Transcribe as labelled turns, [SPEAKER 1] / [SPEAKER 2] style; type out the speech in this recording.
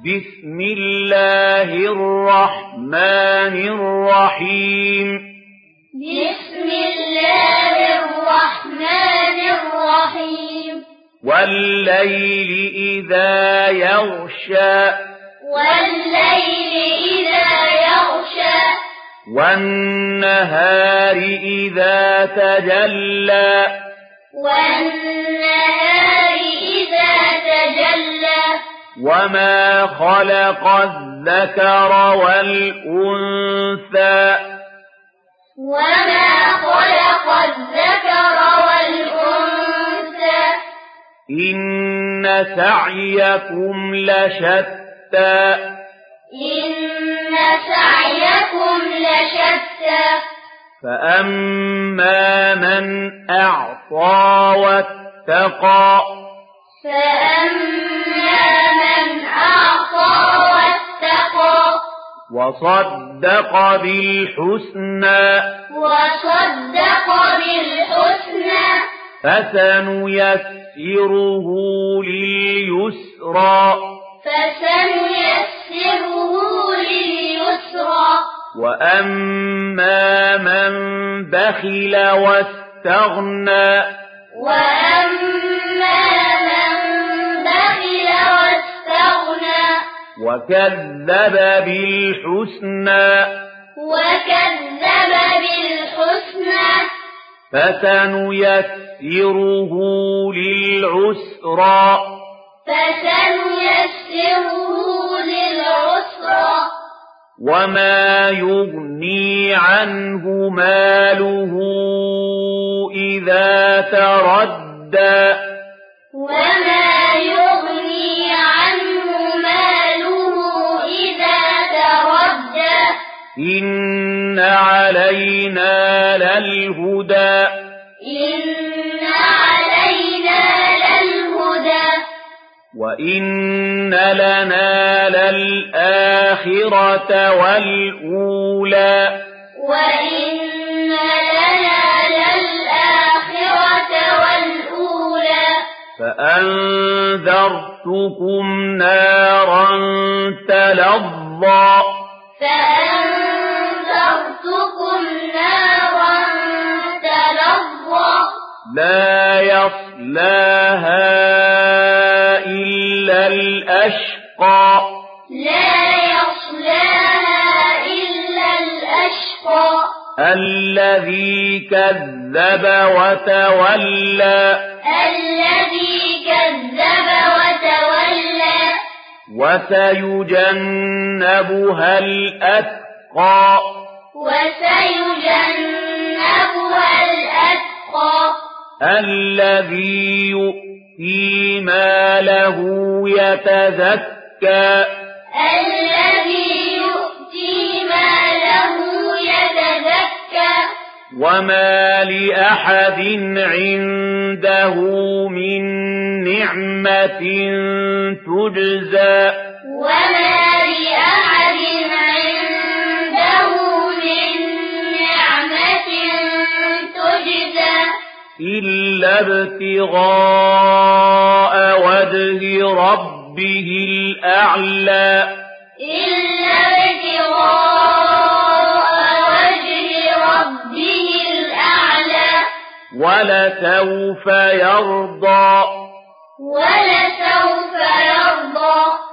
[SPEAKER 1] بسم الله الرحمن الرحيم
[SPEAKER 2] بسم الله الرحمن الرحيم
[SPEAKER 1] والليل إذا يغشى
[SPEAKER 2] والليل إذا يغشى
[SPEAKER 1] والنهار إذا تجلى
[SPEAKER 2] والنهار إذا تجلى
[SPEAKER 1] وما خلق الذكر والأنثى
[SPEAKER 2] وما خلق الذكر والأنثى
[SPEAKER 1] إن سعيكم لشتى
[SPEAKER 2] إن سعيكم لشتى
[SPEAKER 1] فأما من أعطى واتقى
[SPEAKER 2] فأما من أعطى واتقى
[SPEAKER 1] وصدق بالحسنى
[SPEAKER 2] وصدق بالحسنى
[SPEAKER 1] فسنيسره لليسرى
[SPEAKER 2] فسنيسره لليسرى
[SPEAKER 1] وأما من بخل واستغنى
[SPEAKER 2] وأما من بخل واستغنى
[SPEAKER 1] وكذب بالحسنى
[SPEAKER 2] وكذب بالحسنى
[SPEAKER 1] فسنيسره للعسرى
[SPEAKER 2] فسنيسره للعسرى
[SPEAKER 1] وما يغني عنه ماله إذا تردى
[SPEAKER 2] وما يغني عنه ماله إذا تردى
[SPEAKER 1] إن علينا للهدى
[SPEAKER 2] إن علينا للهدى
[SPEAKER 1] وإن لنا للآخرة والأولى
[SPEAKER 2] وإن لنا للآخرة والأولى
[SPEAKER 1] فأنذرتكم نارا تلظى
[SPEAKER 2] فأنذرتكم نارا تلظى
[SPEAKER 1] لا يصلاها إلا الأشقى
[SPEAKER 2] لا يصلاها إلا الأشقى
[SPEAKER 1] الذي كذب وتولى
[SPEAKER 2] الذي كذب وتولى
[SPEAKER 1] وسيجنبها الأتقى
[SPEAKER 2] وسيجنبها الأتقى
[SPEAKER 1] الذي يؤتي ماله يتزكى
[SPEAKER 2] الذي يؤتي ماله يتزكى
[SPEAKER 1] وما لأحد عنده من نعمة تجزى
[SPEAKER 2] وما لأحد عنده من نعمة تجزى
[SPEAKER 1] إلا ابتغاء وجه ربه الأعلى
[SPEAKER 2] إلا ابتغاء وجه ربه الأعلى
[SPEAKER 1] ولسوف يرضى
[SPEAKER 2] ولسوف يرضى